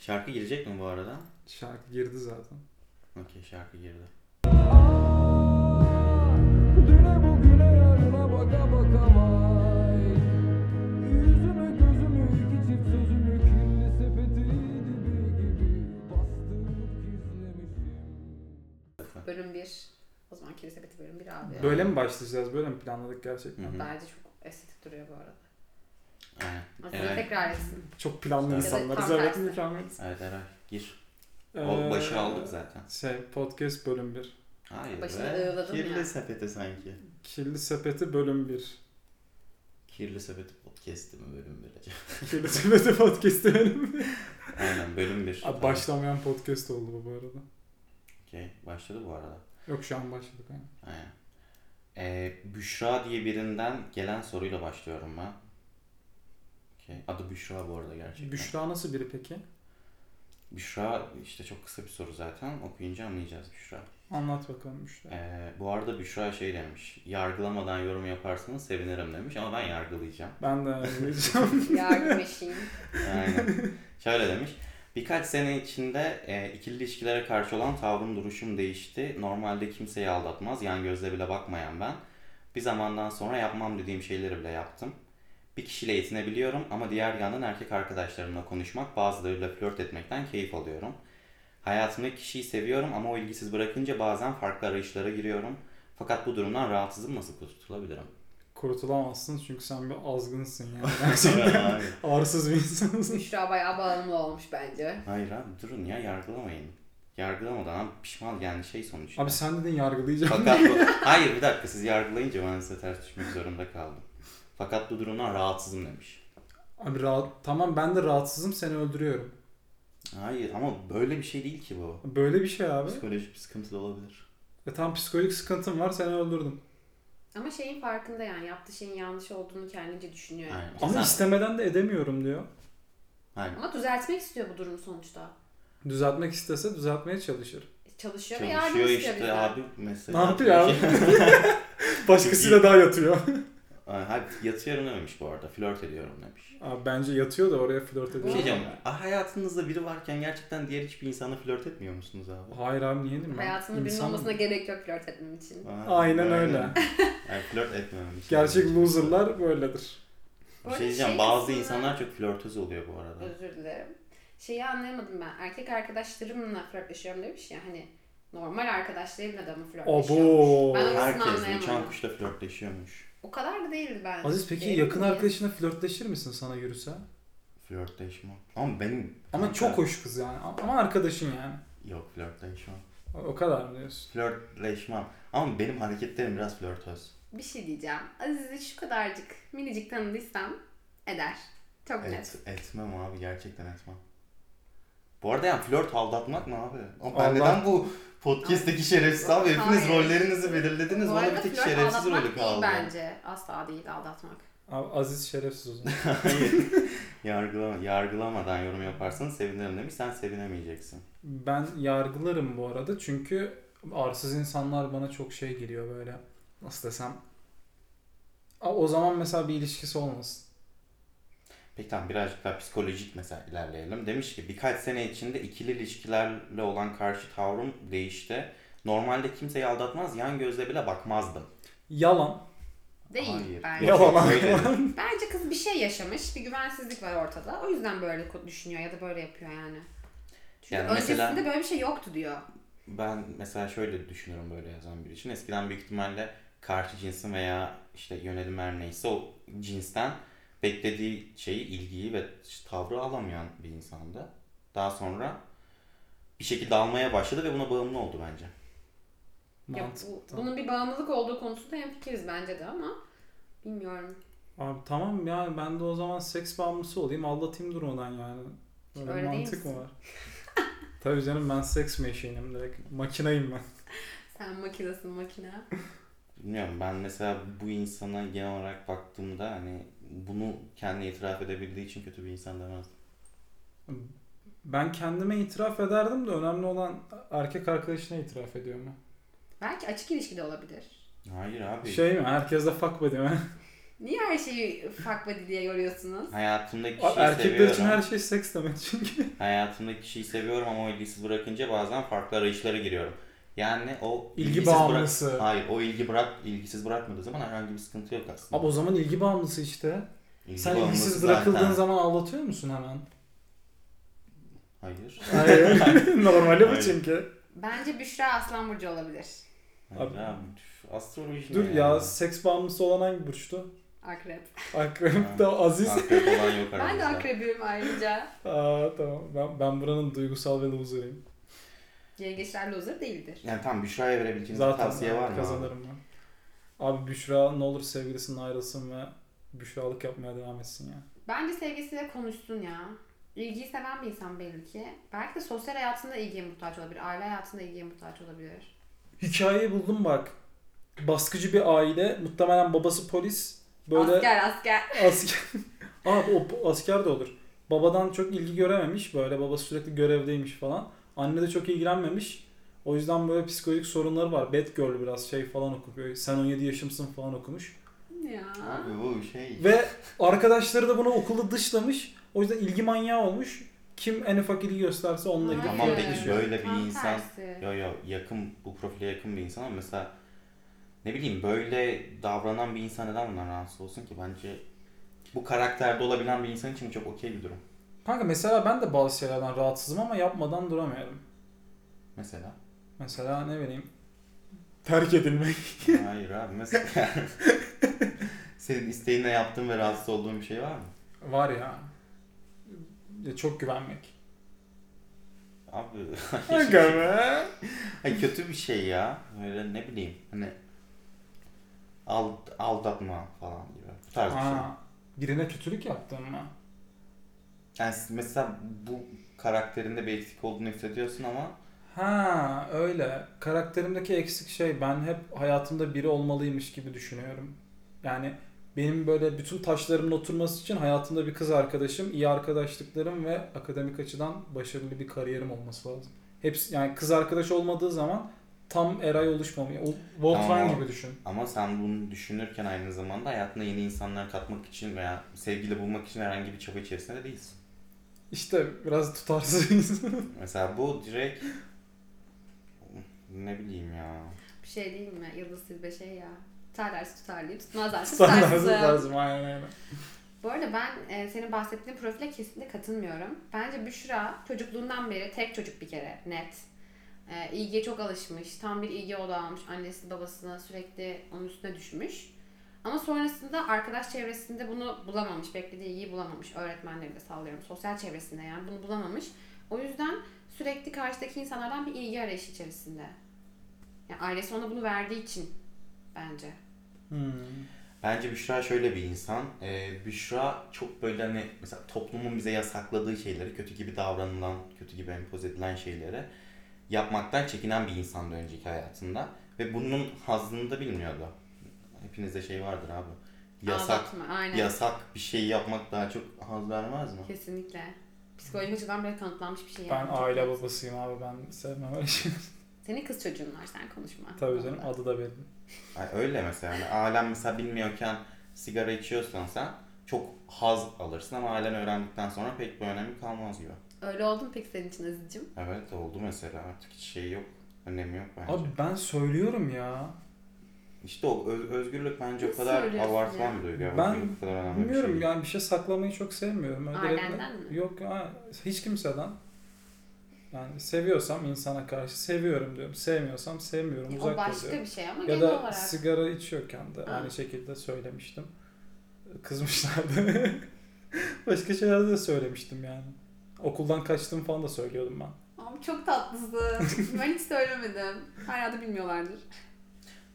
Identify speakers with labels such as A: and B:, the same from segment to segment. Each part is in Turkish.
A: Şarkı girecek mi bu arada?
B: Şarkı girdi zaten.
A: Okey şarkı girdi.
C: Düne bugüne yarına baka baka vay Yüzümü gözümü iki çift sözümü kirli sepeti dibi gibi bastırıp gizlemişim
D: Bölüm 1. O zaman kilise biti bölüm 1 abi.
B: Böyle mi başlayacağız? Böyle mi planladık gerçekten?
A: Hı hı.
D: Bence çok estetik duruyor bu arada.
A: Aynen.
D: Aslında
A: Eray.
D: tekrar etsin.
B: Çok planlı
A: Evet,
B: insanlarız.
D: tam
B: Evet
D: tersi.
B: mükemmel.
A: Evet Eray gir. O
B: Ee,
A: başı aldık zaten.
B: Şey podcast bölüm 1.
A: Hayır
D: Başına
A: be.
D: ığladın
A: Kirli
D: ya.
A: sepeti sanki.
B: Kirli sepeti bölüm 1.
A: Kirli sepeti podcast'i mi bölüm 1 acaba?
B: Kirli sepeti podcast'i benim.
A: Aynen bölüm 1.
B: Abi başlamayan podcast oldu bu bu arada.
A: Okey başladı bu arada.
B: Yok şu an başladık. Yani.
A: Aynen. Ee, Büşra diye birinden gelen soruyla başlıyorum ben. Okey. Adı Büşra bu arada gerçekten.
B: Büşra nasıl biri peki?
A: Büşra işte çok kısa bir soru zaten. Okuyunca anlayacağız Büşra.
B: Anlat bakalım Büşra.
A: Ee, bu arada Büşra şey demiş. Yargılamadan yorum yaparsanız sevinirim demiş ama ben yargılayacağım.
B: Ben de anlayacağım.
D: Yardım eşiğim.
A: Aynen. Şöyle demiş. Birkaç sene içinde e, ikili ilişkilere karşı olan tavrım duruşum değişti. Normalde kimseyi aldatmaz, yan gözle bile bakmayan ben. Bir zamandan sonra yapmam dediğim şeyleri bile yaptım. Bir kişiyle yetinebiliyorum ama diğer yandan erkek arkadaşlarımla konuşmak, bazılarıyla flört etmekten keyif alıyorum. Hayatımdaki kişiyi seviyorum ama o ilgisiz bırakınca bazen farklı arayışlara giriyorum. Fakat bu durumdan rahatsızım nasıl kurtulabilirim?
B: Kurutulamazsın çünkü sen bir azgınsın yani. Gerçekten arsız bir insansın.
D: Büşra bayağı bağımlı olmuş bence.
A: Hayır abi durun ya yargılamayın. Yargılamadan abi pişman yani şey sonuçta.
B: Abi sen dedin yargılayacağım.
A: Fakat bu... Hayır bir dakika siz yargılayınca ben size ters düşmek zorunda kaldım. Fakat bu durumdan rahatsızım demiş.
B: Abi rahat, tamam ben de rahatsızım seni öldürüyorum.
A: Hayır ama böyle bir şey değil ki bu.
B: Böyle bir şey abi.
A: Psikolojik bir sıkıntı da olabilir.
B: E tam psikolojik sıkıntım var seni öldürdüm.
D: Ama şeyin farkında yani. Yaptığı şeyin yanlış olduğunu kendince düşünüyor.
A: Aynen.
B: Ama
A: Sen-
B: istemeden de edemiyorum diyor.
A: Hayır.
D: Ama düzeltmek istiyor bu durumu sonuçta.
B: Düzeltmek istese düzeltmeye çalışır.
D: Çalışıyor, ve yardım
A: Çalışıyor
D: istiyor
A: işte
D: bizden.
A: abi mesela.
B: Ne yapıyor abi? Başkasıyla daha yatıyor.
A: Ay, Hayır yatıyorum dememiş bu arada. Flört ediyorum demiş.
B: Abi bence yatıyor da oraya flört
A: Bir şey
B: ediyor.
D: Şey-
A: diyeceğim. ah, Hayatınızda biri varken gerçekten diğer hiçbir insanla flört etmiyor musunuz abi?
B: Hayır abi niye değil mi?
D: Hayatının birinin olmasına gerek yok flört etmem için.
B: Aynen öyle.
A: Yani flört şey etmememiş.
B: Gerçek loserlar böyledir.
D: Bu
A: Bir
D: arada
A: şey diyeceğim bazı
D: kısmı-
A: insanlar çok flörtöz oluyor bu arada.
D: Özür dilerim. Şeyi anlayamadım ben. Erkek arkadaşlarımla flörtleşiyorum demiş ya hani normal arkadaşlarımla da mı flörtleşiyormuş?
B: Abo.
D: Ben orasını
A: Herkes
D: anlayamadım.
A: uçan kuşla flörtleşiyormuş.
D: O kadar da değildi ben.
B: Aziz peki
D: Değil
B: yakın
D: mi?
B: arkadaşına flörtleşir misin sana yürüse?
A: Flörtleşme. Ama benim...
B: Ama
A: Kanka-
B: çok hoş kız yani. Ama arkadaşın yani.
A: Yok flörtleşmem.
B: O- O kadar mı diyorsun?
A: Flörtleşmem. Ama benim hareketlerim biraz flörtöz.
D: Bir şey diyeceğim. Aziz'i şu kadarcık minicik tanıdıysam eder. Çok net.
A: Et, etmem abi gerçekten etmem. Bu arada yani flört aldatmak mı abi? Ama ben
B: Allah-
A: neden bu podcast'teki şerefsiz abi? Hepiniz
D: Hayır.
A: rollerinizi belirlediniz.
D: Bu
A: Bana bir
D: arada
A: tek
D: flört
A: şerefsiz rolü
D: aldatmak değil
A: kaldı.
D: bence. Asla değil aldatmak.
B: Abi Aziz şerefsiz o zaman.
A: Hayır. Yargılama, yargılamadan yorum yaparsanız sevinirim demiş. Sen sevinemeyeceksin.
B: Ben yargılarım bu arada çünkü arsız insanlar bana çok şey geliyor böyle. Nasıl desem? A- O zaman mesela bir ilişkisi olmasın.
A: Peki tamam birazcık daha psikolojik mesela ilerleyelim. Demiş ki birkaç sene içinde ikili ilişkilerle olan karşı tavrım değişti. Normalde kimseyi aldatmaz, yan gözle bile bakmazdım.
B: Yalan.
D: Değil
A: Hayır.
D: bence.
B: Yalan.
A: Öyle dedi.
D: Bence kız bir şey yaşamış. Bir güvensizlik var ortada. O yüzden böyle ko- düşünüyor ya da böyle yapıyor yani. Çünkü
A: Yani
D: öncesinde
A: mesela-
D: böyle bir şey yoktu diyor.
A: Ben mesela şöyle düşünüyorum böyle yazan biri için. Eskiden büyük ihtimalle karşı cinsin veya işte yönelim her neyse o cinsten beklediği şeyi, ilgiyi ve tavrı alamayan bir insandı. Daha sonra bir şekilde almaya başladı ve buna bağımlı oldu bence.
D: Ya
B: Mantık.
D: bu, bunun bir bağımlılık olduğu konusunda hemfikiriz bence de ama bilmiyorum.
B: Abi tamam yani ben de o zaman seks bağımlısı olayım aldatayım durmadan yani. Böyle
D: Öyle değil
B: mantık mı
D: misin?
B: var? Tabii canım ben seks meşinim direkt. Makinayım ben.
D: Sen makinesin makine.
A: Bilmiyorum ben mesela bu insana genel olarak baktığımda hani bunu kendi itiraf edebildiği için kötü bir insan demezdim.
B: Ben kendime itiraf ederdim de önemli olan erkek arkadaşına itiraf ediyor mu?
D: Belki açık ilişkide olabilir.
A: Hayır abi.
B: Şey mi? Herkes de fuck buddy mi?
D: Niye her şeyi fuck body diye yoruyorsunuz?
A: Hayatımdaki kişiyi
B: Erkekler
A: şey seviyorum.
B: için her şey seks demek çünkü.
A: Hayatımdaki kişiyi seviyorum ama o ilgisiz bırakınca bazen farklı arayışlara giriyorum. Yani o
B: İlgi
A: ilgisiz bırak-
B: bağımlısı.
A: Hayır o ilgi bırak ilgisiz bırakmadığı zaman herhangi bir sıkıntı yok aslında.
B: Abi o zaman ilgi bağımlısı işte.
A: İlgi
B: Sen
A: bağımlısı
B: ilgisiz
A: zaten.
B: bırakıldığın zaman ağlatıyor musun hemen?
A: Hayır.
B: Hayır. Normali bu
A: Hayır.
B: çünkü.
D: Bence Büşra Aslanburcu olabilir.
A: Hayır
B: Abi-
A: abi. üf, Astroloji
B: Dur
A: ne
B: ya seks bağımlısı olan hangi burçtu?
D: Akrep.
B: Akrep da Aziz.
A: Akrep olan yok aramızda.
D: Ben de akrebim ayrıca.
B: Aa tamam. Ben, ben buranın duygusal ve loser'ıyım.
D: Yengeçler loser değildir.
A: Yani tamam Büşra'ya verebileceğiniz bir
B: Zaten
A: tavsiye var mı? abi?
B: kazanırım ben. Abi Büşra ne olur sevgilisinden ayrılsın ve Büşralık yapmaya devam etsin ya.
D: Bence sevgisiyle konuşsun ya. İlgiyi seven bir insan belli ki. Belki de sosyal hayatında ilgiye muhtaç olabilir. Aile hayatında ilgiye muhtaç olabilir.
B: Hikayeyi buldum bak. Baskıcı bir aile. Muhtemelen babası polis. Böyle
D: Asker asker.
B: Asker. Abi o po- asker de olur. Babadan çok ilgi görememiş. Böyle babası sürekli görevdeymiş falan. Anne de çok ilgilenmemiş. O yüzden böyle psikolojik sorunları var. Bad girl biraz şey falan okumuyor. Sen 17 yaşımsın falan okumuş.
D: Ya.
A: Abi bu şey.
B: Ve arkadaşları da bunu okulda dışlamış. O yüzden ilgi manyağı olmuş. Kim en ufak ilgi gösterse onunla
D: Hayır.
B: gidiyor.
A: Tamam peki şöyle bir
D: Tam
A: insan.
D: tersi.
A: Yo yo yakın bu profile yakın bir insan ama mesela ne bileyim böyle davranan bir insan neden bundan rahatsız olsun ki bence bu karakterde olabilen bir insan için çok okey bir durum.
B: Kanka mesela ben de bazı şeylerden rahatsızım ama yapmadan duramıyorum.
A: Mesela.
B: Mesela ne bileyim. Terk edilmek.
A: Hayır abi mesela. Senin isteğinle yaptığın ve rahatsız olduğun bir şey var mı?
B: Var ya. Ya çok güvenmek.
A: Abi
B: Kanka be.
A: Ay kötü bir şey ya. Böyle ne bileyim hani ald- aldatma falan gibi. Bu tarz bir şey.
B: Aa, birine kötülük yaptın mı?
A: Yani s- mesela bu karakterinde bir eksik olduğunu hissediyorsun ama
B: Ha öyle. Karakterimdeki eksik şey ben hep hayatımda biri olmalıymış gibi düşünüyorum. Yani benim böyle bütün taşlarımın oturması için hayatımda bir kız arkadaşım, iyi arkadaşlıklarım ve akademik açıdan başarılı bir kariyerim olması lazım. Hepsi yani kız arkadaş olmadığı zaman tam eray oluşmamıyor. O Voltran
A: Tamam.
B: gibi düşün.
A: ama sen bunu düşünürken aynı zamanda hayatına yeni insanlar katmak için veya sevgili bulmak için herhangi bir çaba içerisinde değilsin.
B: İşte biraz tutarsız.
A: Mesela bu direkt ne bileyim ya.
D: Bir şey değil mi? Yıldız Silbe şey ya. Tutarlarsa tutarlıyım, tutmazlarsa
B: Tutarsız
D: tutarsızım.
B: lazım aynen aynen.
D: Bu arada ben e, senin bahsettiğin profile kesinlikle katılmıyorum. Bence Büşra çocukluğundan beri tek çocuk bir kere net. E, ilgiye çok alışmış. Tam bir ilgi odağıymış. Annesi babasına sürekli onun üstüne düşmüş. Ama sonrasında arkadaş çevresinde bunu bulamamış. Beklediği ilgiyi bulamamış. Öğretmenleri de sallıyorum. Sosyal çevresinde yani bunu bulamamış. O yüzden sürekli karşıdaki insanlardan bir ilgi arayışı içerisinde. Yani ailesi ona bunu verdiği için bence.
B: Hmm.
A: Bence Büşra şöyle bir insan. Ee, Büşra çok böyle hani mesela toplumun bize yasakladığı şeyleri, kötü gibi davranılan, kötü gibi empoze edilen şeyleri yapmaktan çekinen bir insandı önceki hayatında. Ve bunun hazzını da bilmiyordu. Hepinizde şey vardır abi. Yasak,
D: Aldatma, aynen.
A: yasak bir şey yapmak daha çok haz vermez mi?
D: Kesinlikle. Psikolojik açıdan bile kanıtlanmış bir şey
B: Ben
D: yani.
B: aile babasıyım abi ben sevmem öyle şey.
D: Senin kız çocuğun var sen konuşma.
B: Tabii canım adı da belli.
A: Ay öyle mesela. Yani ailen mesela bilmiyorken sigara içiyorsan sen çok haz alırsın ama ailen öğrendikten sonra pek bir önemi kalmaz gibi.
D: Öyle oldu mu peki senin için Aziz'cim?
A: Evet oldu mesela artık hiç şey yok. Önemi yok bence.
B: Abi ben söylüyorum ya.
A: İşte o öz- özgürlük bence o
D: Nasıl
A: kadar
D: söylüyorsun
A: abartılan
D: ya?
A: bir duygu. ya.
B: Ben
A: Özgürlük bu kadar önemli
B: Bilmiyorum
A: bir şey.
B: yani bir şey saklamayı çok sevmiyorum. Öyle
D: Ailenden
B: direkt-
D: mi?
B: Yok ha, hiç kimseden. Yani seviyorsam insana karşı seviyorum diyorum. Sevmiyorsam sevmiyorum.
D: Ya,
B: Uzak
D: o başka
B: duruyorum.
D: bir şey ama
B: Ya
D: genel
B: da
D: olarak.
B: sigara içiyorken de
D: Ha.
B: aynı şekilde söylemiştim. Kızmışlardı. başka şeyler de söylemiştim yani. Okuldan kaçtım falan da söylüyordum ben.
D: Ama çok tatlısın. ben hiç söylemedim. Herhalde bilmiyorlardır.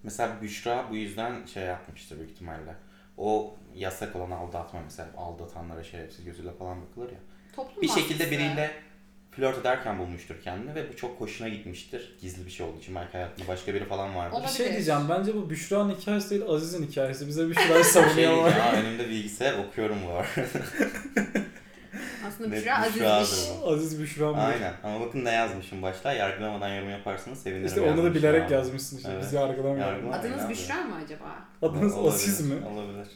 A: Mesela Büşra bu yüzden şey yapmıştır büyük ihtimalle. O yasak olan aldatma mesela aldatanlara şerefsiz gözüyle falan bakılır ya.
D: Toplum
A: Bir
D: baskısı.
A: şekilde biriyle flört ederken bulmuştur kendini ve bu çok hoşuna gitmiştir. Gizli bir şey olduğu için belki hayatında başka biri falan vardır.
D: Olabilir.
B: Bir şey diyeceğim bence bu Büşra'nın hikayesi değil Aziz'in hikayesi. Bize Büşra'yı
A: Şey,
B: savunuyor ama.
A: ya önümde bilgisayar okuyorum bu arada.
D: Aslında
A: Net
D: Büşra
A: Büşra'dır
D: Aziz'miş.
A: bu.
B: Aziz Büşra mı?
A: Aynen ama bakın ne yazmışım başta yargılamadan yorum yaparsanız sevinirim.
B: İşte onu da
A: yazmışım
B: bilerek
A: abi.
B: yazmışsın işte.
A: Evet.
B: Bizi yargılamıyor.
A: Yargılama.
D: Adınız
A: Aynen.
D: Büşra mı acaba?
B: Adınız
A: Olabilir,
B: Aziz mi?
A: Olabilir.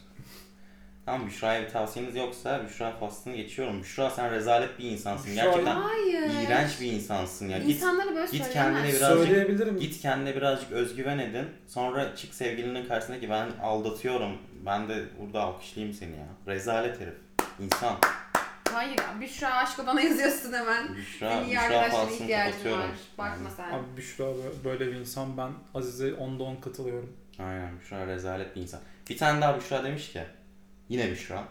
A: Tamam Büşra'ya bir tavsiyeniz yoksa Büşra faslını geçiyorum. Büşra sen rezalet bir insansın.
B: Büşra-
A: Gerçekten
D: Hayır.
A: iğrenç bir insansın ya. Git,
D: İnsanlara böyle
A: git
D: söyleyemez.
A: kendine biraz- Birazcık-
B: Söyleyebilirim.
A: git kendine birazcık özgüven edin. Sonra çık sevgilinin karşısına ki ben aldatıyorum. Ben de burada alkışlayayım seni ya. Rezalet herif. İnsan.
D: Hayır Büşra aşkı bana yazıyorsun hemen.
A: Büşra,
D: Senin iyi
A: Büşra
D: arkadaşlara
A: faslını
D: ihtiyacın
A: kapatıyorum.
D: var. Bakma sen.
B: Abi Büşra bö- böyle bir insan ben Aziz'e onda on katılıyorum.
A: Aynen Büşra rezalet bir insan. Bir tane daha Büşra demiş ki. Yine Büşra.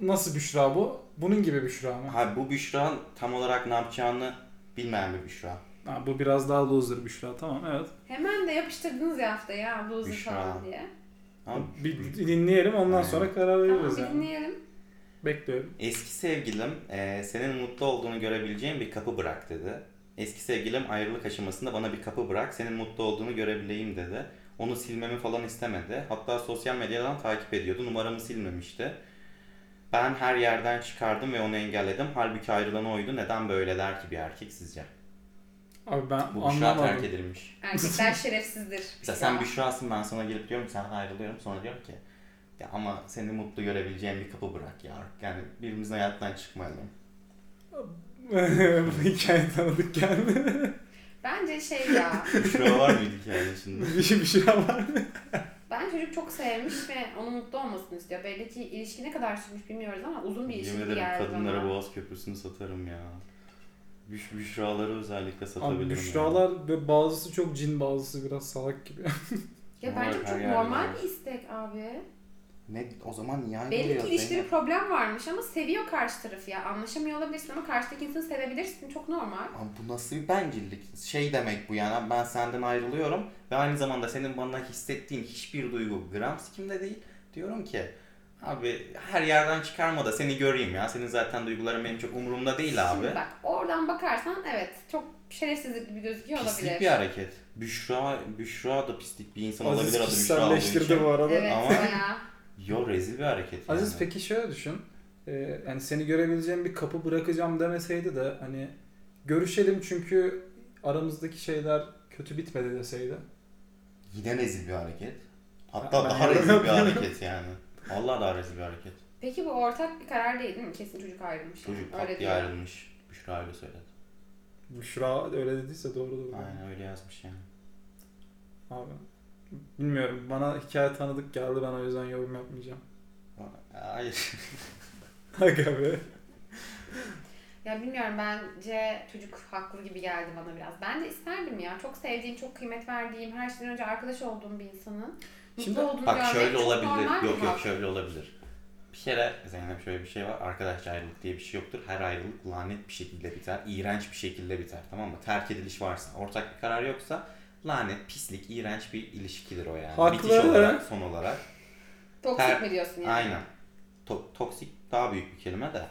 B: Nasıl Büşra bu? Bunun gibi Büşra mı?
A: Ha bu Büşra tam olarak ne yapacağını bilmeyen bir Büşra.
B: Ha, bu biraz daha loser Büşra tamam evet.
D: Hemen de yapıştırdınız ya haftaya ya bu uzun
A: Büşra.
D: falan diye.
A: Tamam.
B: Bir dinleyelim ondan
A: Aynen.
B: sonra karar
D: Tamam
B: veririz
D: bir
B: yani.
D: dinleyelim.
B: Bekliyorum.
A: Eski sevgilim eee, senin mutlu olduğunu görebileceğin bir kapı bırak dedi. Eski sevgilim ayrılık aşamasında bana bir kapı bırak senin mutlu olduğunu görebileyim dedi. Onu silmemi falan istemedi. Hatta sosyal medyadan takip ediyordu. Numaramı silmemişti. Ben her yerden çıkardım ve onu engelledim. Halbuki ayrılan oydu. Neden böyle der ki bir erkek sizce?
B: Abi ben
A: Bu Büşra terk
B: anlamadım.
A: edilmiş.
D: Erkekler şerefsizdir.
A: Mesela sen şey-
D: Büşra.
A: Büşra'sın ben sana gelip diyorum ki senden ayrılıyorum sonra diyorum ki ya ama seni mutlu görebileceğim bir kapı bırak ya. Yani birbirimizin hayatından çıkmayalım.
B: bu hikaye tanıdık geldi.
D: Bence şey ya.
A: Büşra var mıydı hikayenin içinde?
B: bir, bir şey var mı?
D: ben çocuk çok sevmiş ve onun mutlu olmasını istiyor. Belli ki ilişki ne kadar sürmüş bilmiyoruz ama uzun bir
A: Yemin
D: ilişki
A: ederim
D: geldi
A: kadınlara
D: bana.
A: boğaz köprüsünü satarım ya. Büş, büşraları özellikle satabilirim.
B: Abi
A: ya.
B: Büşralar ve bazısı çok cin bazısı biraz salak gibi.
D: Ya
A: Normal
D: bence bu
A: her
D: çok
A: yerde
D: normal
A: var.
D: bir istek abi.
A: Ne o zaman niye
D: Belli
A: ayrılıyor
D: ki ilişkide
A: Zeynep?
D: problem varmış ama seviyor karşı tarafı ya. Anlaşamıyor olabilirsin ama karşıdaki insanı sevebilirsin. Çok normal.
A: Ama bu nasıl bir bencillik? Şey demek bu yani ben senden ayrılıyorum ve aynı zamanda senin bana hissettiğin hiçbir duygu gram kimde değil. Diyorum ki abi her yerden çıkarma da seni göreyim ya. Senin zaten duyguların benim çok umurumda değil abi.
D: Şimdi bak oradan bakarsan evet çok şerefsizlik gibi gözüküyor Şey olabilir.
A: Pislik bir hareket. Büşra, Büşra da pislik bir insan olabilir adı Büşra olduğu
B: kişiselleştirdi
A: için.
B: bu arada.
D: Evet
A: Ama-
D: bayağı.
A: Yo rezil bir hareket yani.
B: Aziz peki şöyle düşün. Ee, yani seni görebileceğim bir kapı bırakacağım demeseydi de hani görüşelim çünkü aramızdaki şeyler kötü bitmedi deseydi.
A: Yine rezil bir hareket. Hatta
B: Ben-
A: daha
B: ben-
A: rezil bir hareket yani. Vallahi daha rezil bir hareket.
D: Peki bu ortak bir karar değil değil mi? Kesin çocuk ayrılmış. yani.
A: Çocuk pat diye
D: diyor.
A: ayrılmış. Büşra öyle söyledi.
B: Büşra öyle dediyse doğru doğru.
A: Aynen öyle yazmış yani.
B: Abi. Bilmiyorum bana hikaye tanıdık geldi ben o yüzden yorum yapmayacağım.
A: Hayır.
B: Aga be.
D: Ya bilmiyorum bence çocuk haklı gibi geldi bana biraz. Ben de isterdim ya. Çok sevdiğim, çok kıymet verdiğim, her şeyden önce arkadaş olduğum bir insanın mutlu
B: Şimdi-
D: olduğunu
A: Bak
D: görmek
A: şöyle
D: çok
A: olabilir.
D: normal bir
A: Yok yok
D: hak.
A: şöyle olabilir. Bir kere Zeynep şöyle bir şey var. Arkadaş ayrılık diye bir şey yoktur. Her ayrılık lanet bir şekilde biter. iğrenç bir şekilde biter. Tamam mı? Terk ediliş varsa, ortak bir karar yoksa lanet, pislik, iğrenç bir ilişkidir o yani.
B: Haklı.
A: Bitiş olarak, son olarak.
D: Toksik
A: Her-
D: mi diyorsun yani?
A: Aynen. To- toksik daha büyük bir kelime de.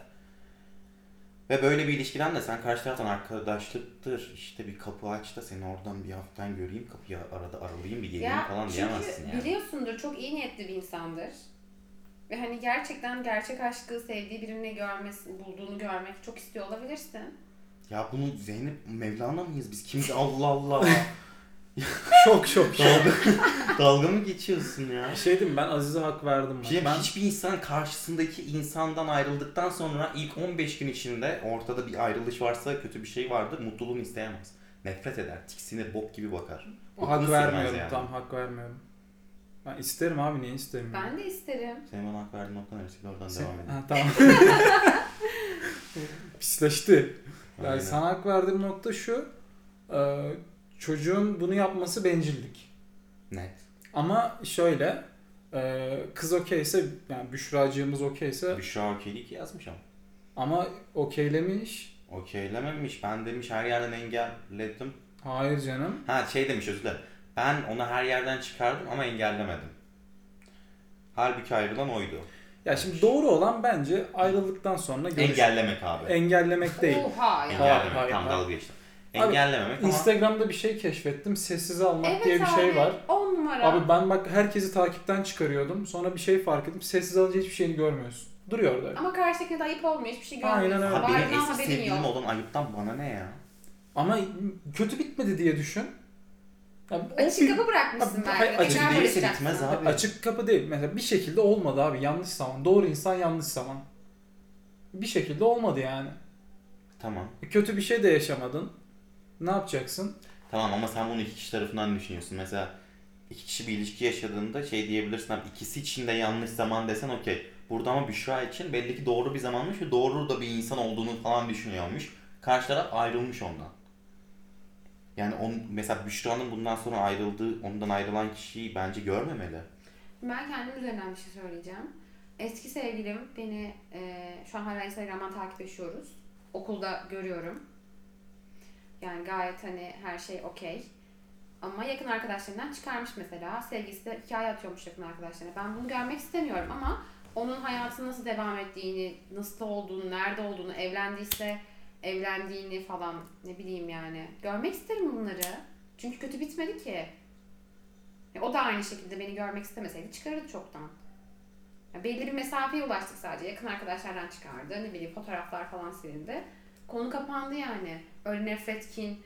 A: Ve böyle bir ilişkiden de sen karşı taraftan arkadaşlıktır. işte bir kapı aç da seni oradan bir haftan göreyim. Kapıyı arada aralayayım bir geleyim
D: Ya
A: falan diyemezsin
D: çünkü
A: yani.
D: biliyorsundur çok iyi niyetli bir insandır. Ve hani gerçekten gerçek aşkı sevdiği birini görmesi, bulduğunu görmek çok istiyor olabilirsin.
A: Ya bunu Zeynep Mevlana mıyız biz? Kimdi? Allah Allah.
B: Şok şok şok.
A: dalga, dalga mı geçiyorsun ya?
B: Bir şey diyeyim mi? ben Aziz'e hak verdim.
A: Bir
B: Ben.
A: şey diyeyim mi?
B: ben
A: hiçbir insan karşısındaki insandan ayrıldıktan sonra ilk 15 gün içinde ortada bir ayrılış varsa kötü bir şey vardır. Mutluluğunu isteyemez. Nefret eder. Tiksinir. Bok gibi bakar. Kokunu
B: hak
A: silmez
B: vermiyorum
A: yani.
B: tam hak vermiyorum. Ben isterim abi niye istemiyorum?
D: Ben de isterim.
A: Senin bana hak verdiğin nokta neresiydi? Oradan
B: Sen-
A: devam edelim.
B: Ha, tamam. Pisleşti.
A: Aynen.
B: Yani sana hak verdiğim nokta şu. e, Çocuğun bunu yapması bencillik.
A: Net.
B: Ama şöyle e, kız okeyse yani Büşracığımız okeyse
A: Büşra okeylik yazmış ama.
B: ama okeylemiş.
A: Okeylememiş. Ben demiş her yerden engelledim.
B: Hayır canım.
A: Ha şey demiş özür dilerim. Ben onu her yerden çıkardım ama engellemedim. Halbuki ayrılan oydu.
B: Ya şimdi doğru olan bence ayrıldıktan sonra görüş.
A: Engellemek abi.
B: Engellemek değil.
D: Oha ya.
B: Hayır,
A: Engellemek.
B: hayır,
A: Tam
B: hayır.
A: dalga geçtim.
B: Abi,
A: Engellememek ama
B: Instagram'da bir şey keşfettim. Sessize almak
D: Evet
B: diye bir şey
D: abi,
B: var.
D: On numara.
B: Abi ben bak herkesi takipten çıkarıyordum. Sonra bir şey fark ettim. Sessiz alınca hiçbir şeyini görmüyorsun. Duruyor orada.
D: Ama karşıdakine de ayıp olmuyor. Hiçbir şey
B: Aynen
D: görmüyorsun.
B: öyle.
A: ha,
D: Var
A: benim
D: mı
A: eski
D: haberin
A: sevgilim
D: yok.
A: olan ayıptan bana ne ya?
B: Ama kötü bitmedi diye düşün. Ya o
D: Açık
B: bir-
D: kapı bırakmışsın
B: Abi,
D: belki.
B: hayır, açık
D: Tekrar
A: değilse
D: barışacaksın.
A: gitmez abi.
B: Açık kapı değil. Mesela bir şekilde olmadı abi. Yanlış zaman. Doğru insan yanlış zaman. Bir şekilde olmadı yani.
A: Tamam.
B: Kötü bir şey de yaşamadın. Ne yapacaksın?
A: Tamam ama sen bunu iki kişi tarafından düşünüyorsun. Mesela iki kişi bir ilişki yaşadığında şey diyebilirsin abi ikisi için de yanlış zaman desen okey. Burada ama Büşra için belli ki doğru bir zamanmış ve doğru da bir insan olduğunu falan düşünüyormuş. Karşı taraf ayrılmış ondan. Yani on, mesela Büşra'nın bundan sonra ayrıldığı, ondan ayrılan kişiyi bence görmemeli.
D: Ben kendim üzerinden bir şey söyleyeceğim. Eski sevgilim beni e, şu an hala Instagram'dan takipleşiyoruz. Okulda görüyorum. Yani gayet hani her şey okey. Ama yakın arkadaşlarından çıkarmış mesela. Sevgilisi de hikaye atıyormuş yakın arkadaşlarına. Ben bunu görmek istemiyorum ama onun hayatı nasıl devam ettiğini, nasıl olduğunu, nerede olduğunu, evlendiyse evlendiğini falan ne bileyim yani. Görmek isterim bunları. Çünkü kötü bitmedi ki. Ya O da aynı şekilde beni görmek istemeseydi çıkarırdı çoktan. Ya belli bir mesafeye ulaştık sadece. Yakın arkadaşlardan çıkardı. Ne bileyim fotoğraflar falan silindi. Konu kapandı yani. Öyle nefret, kin,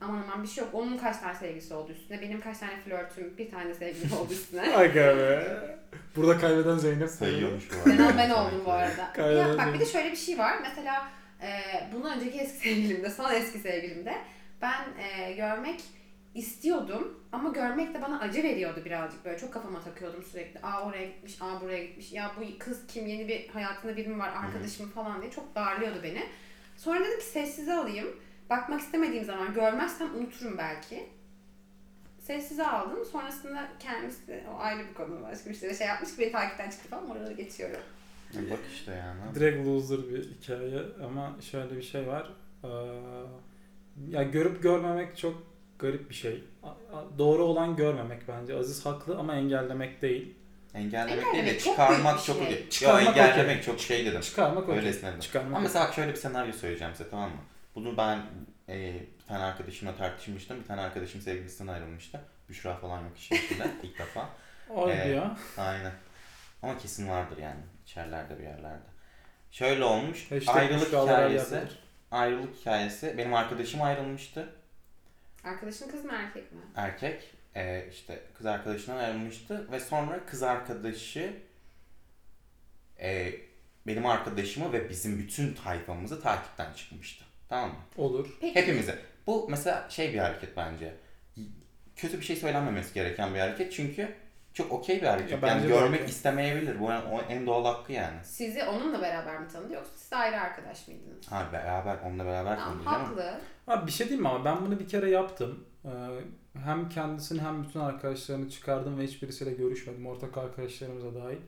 D: aman aman bir şey yok. Onun kaç tane sevgisi oldu üstüne. Benim kaç tane flörtüm, bir tane sevgilim oldu üstüne.
B: Aga be. Burada kaybeden Zeynep.
A: Sayıyormuş bu arada.
D: Ben, ben oldum bu arada.
B: Kaydeder
D: Ya bak bir de
B: miyim?
D: şöyle bir şey var. Mesela e, bundan önceki eski sevgilimde, son eski sevgilimde ben e, görmek istiyordum ama görmek de bana acı veriyordu birazcık böyle çok kafama takıyordum sürekli. Aa oraya gitmiş, aa buraya gitmiş. Ya bu kız kim? Yeni bir hayatında biri mi var? Arkadaşım falan diye çok darlıyordu beni. Sonra dedim ki sessize alayım. Bakmak istemediğim zaman görmezsem unuturum belki sessize aldım. Sonrasında kendisi o ayrı bir konu başka bir şey şey yapmış ki beni takipten çıktı falan oraları geçiyorum.
A: Yani bak işte yani.
B: Direkt loser bir hikaye ama şöyle bir şey var. Ee, ya görüp görmemek çok garip bir şey. A- a- Doğru olan görmemek bence. Aziz haklı ama engellemek değil.
A: Engellemek, değil de
D: Engellemek çok büyük
A: çıkarmak
D: bir
A: çok
D: şey.
A: iyi. Yo,
B: Çıkarmak
A: engellemek çok şey dedim.
B: Çıkarmak okey.
A: Öylesine dedim.
B: Çıkarmak
A: Ama
B: okey.
A: mesela bak şöyle bir senaryo söyleyeceğim size tamam mı? Bunu ben e, bir tane arkadaşımla tartışmıştım. Bir tane arkadaşım sevgilisinden ayrılmıştı. Büşra falan yok işin içinde ilk defa.
B: Ay
A: Ee,
B: ya.
A: Aynen. Ama kesin vardır yani içerlerde bir yerlerde. Şöyle olmuş.
B: Hashtag
A: ayrılık
B: Büşra Alay
A: hikayesi.
B: yazılır.
A: Ayrılık hikayesi. Benim arkadaşım ayrılmıştı.
D: Arkadaşın kız mı erkek mi?
A: Erkek. E, işte kız arkadaşından ayrılmıştı. Ve sonra kız arkadaşı e, benim arkadaşımı ve bizim bütün tayfamızı takipten çıkmıştı. Tamam mı?
B: Olur.
D: Peki
A: Hepimize. Bu mesela şey bir hareket bence. Kötü bir şey söylenmemesi gereken bir hareket çünkü çok okey bir hareket.
B: Ya
A: yani
B: bence de
A: görmek
B: okey.
A: istemeyebilir. Bu en, o en doğal hakkı yani.
D: sizi onunla beraber mi tanıdı yoksa siz ayrı arkadaş mıydınız?
A: Ha beraber onunla beraber
D: Tamam,
A: konuşacağız ama.
D: haklı.
B: Abi bir şey diyeyim mi ama ben bunu bir kere yaptım. Ee, hem kendisini hem bütün arkadaşlarını çıkardım ve hiçbirisiyle görüşmedim. Ortak arkadaşlarımıza dahil.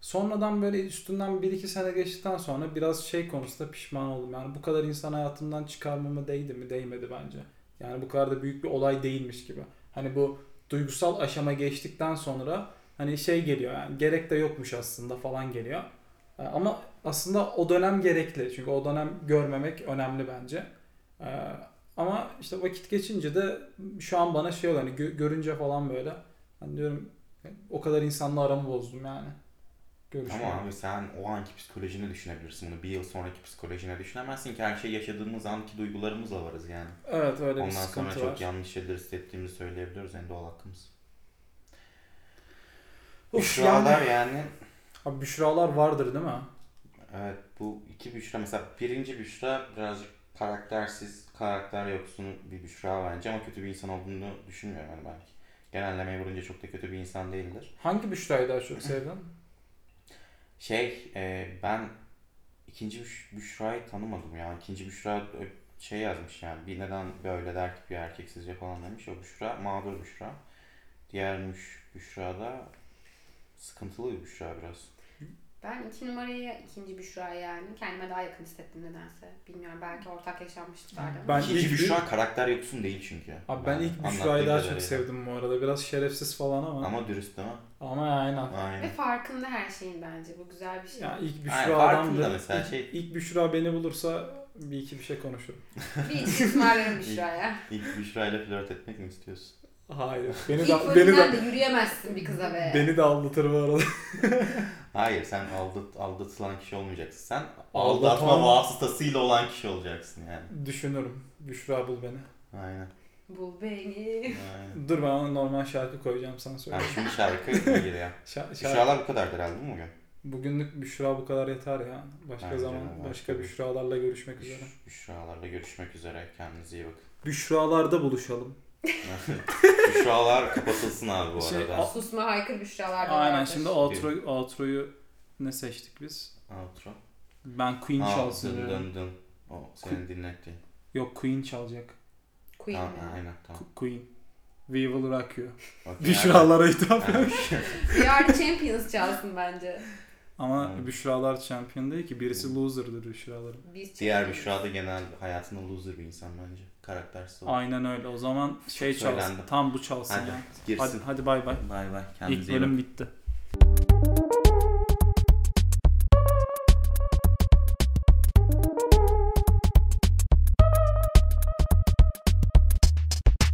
B: Sonradan böyle üstünden 1-2 sene geçtikten sonra biraz şey konusunda pişman oldum. Yani bu kadar insan hayatımdan çıkarmama değdi mi? Değmedi bence. Yani bu kadar da büyük bir olay değilmiş gibi. Hani bu duygusal aşama geçtikten sonra hani şey geliyor yani gerek de yokmuş aslında falan geliyor. Ee, Ama aslında o dönem gerekli. Çünkü o dönem görmemek önemli bence. Ee, ama işte vakit geçince de şu an bana şey oluyor hani gö- görünce falan böyle. Hani diyorum o kadar insanla aramı bozdum yani. Görüşmeyi.
A: Ama abi sen o anki psikolojini düşünebilirsin bunu. Bir yıl sonraki psikolojine düşünemezsin ki her şey yaşadığımız anki duygularımızla varız yani.
B: Evet öyle bir
A: Ondan sonra
B: sıkıntı var.
A: çok yanlış şeyler hissettiğimizi söyleyebiliyoruz en doğal hakkımız.
B: Uf,
A: Büşralar
B: yani.
A: yani
B: Abi büşralar vardır değil mi?
A: Evet bu iki Büşra mesela birinci Büşra birazcık karaktersiz, karakter yoksun bir Büşra bence ama kötü bir insan olduğunu düşünmüyorum hani belki. Genellemeye vurunca çok da kötü bir insan değildir.
B: Hangi büşrayı daha çok sevdin?
A: Şey e, ben ikinci Büş- Büşra'yı tanımadım ya. İkinci Büşra ö- şey yazmış yani bir neden böyle der ki bir erkek sizce falan demiş. O Büşra mağdur Büşra. Diğer Müş- Büşra da sıkıntılı bir Büşra biraz.
D: Ben iki numarayı, ikinci Büşra yani kendime daha yakın hissettim nedense. Bilmiyorum belki ortak yaşanmışlıklardı ama.
B: Ben
A: İkinci
B: ilk-
A: Büşra karakter yoksun değil çünkü.
B: Abi ben
A: Yani
B: ilk büşrayı
A: anlattığı
B: daha
A: kadarıyla.
B: çok sevdim bu arada. Biraz şerefsiz falan ama. Ama,
A: Ama dürüst değil mi?
B: aynen.
D: Ve
A: Aynen.
D: farkında her şeyin bence bu güzel bir şey.
B: Ya ilk
A: Aynen,
B: büşra
A: farkında
B: adamdı.
A: mesela
B: İlk-
A: şey-
B: İlk büşra beni bulursa bir iki bir şey konuşurum.
D: Bir içki ısmarlarım Büşra'ya.
A: İlk Büşra ile flört etmek mi istiyorsun?
B: Hayır. Beni
D: İlk
B: de, beni de,
D: bölümden de yürüyemezsin bir kıza be.
B: beni de aldatır bu arada.
A: Hayır sen aldat, aldatılan kişi olmayacaksın. Sen
B: Aldatan-
A: aldatma vasıtasıyla olan kişi olacaksın yani.
B: Düşünürüm. Büşra bul beni.
A: Aynen.
D: Bul beni.
A: Aynen.
B: Dur ben ona normal şarkı koyacağım sana söyle.
A: Yani şimdi şarkı ne geliyor?
B: Şa- şarkı-
A: Şuralar bu kadardır herhalde değil mi bugün?
B: Bugünlük Büşra bu kadar yeter ya. Başka
A: Bence de,
B: zaman
A: başka
B: başka
A: bir-
B: Büşralarla görüşmek üzere.
A: Şu- Şuralarla görüşmek üzere. Kendinize iyi bakın.
B: Büşralarda buluşalım.
A: Şuralar kapatılsın abi bu
B: Şey,
A: arada.
D: Susma haykır büşralar da
B: Aynen
D: vardır.
B: şimdi outro, outro'yu ne seçtik biz?
A: Outro.
B: Ben Queen
A: Aa,
B: çalsın
A: dın dın
B: diyorum.
A: dın. O senin dinlettiğin.
B: Yok Queen çalacak.
D: Queen
A: Tamam,
D: mi?
A: aynen tamam.
B: Ku- Queen. We Will Rock You.
A: Okey,
B: Büşralara hitap
A: aynen.
B: etmiş.
A: Aynen.
D: We are the champions çalsın bence.
B: Ama
A: Aynen.
B: Büşralar şampiyon değil ki. Birisi loser'dır Büşraların.
D: Biz
A: Diğer
D: champions.
A: Büşra da genel hayatında loser bir insan bence. Karaktersiz olur.
B: Aynen öyle. O zaman şey çalsın.
A: Söylendi.
B: Tam bu çalsın
A: Hadi
B: ya. Hadi
A: girsin.
B: hadi bay bay.
A: Bay bay.
B: İlk
A: Kendinize iyi bakın.
B: bölüm bitti.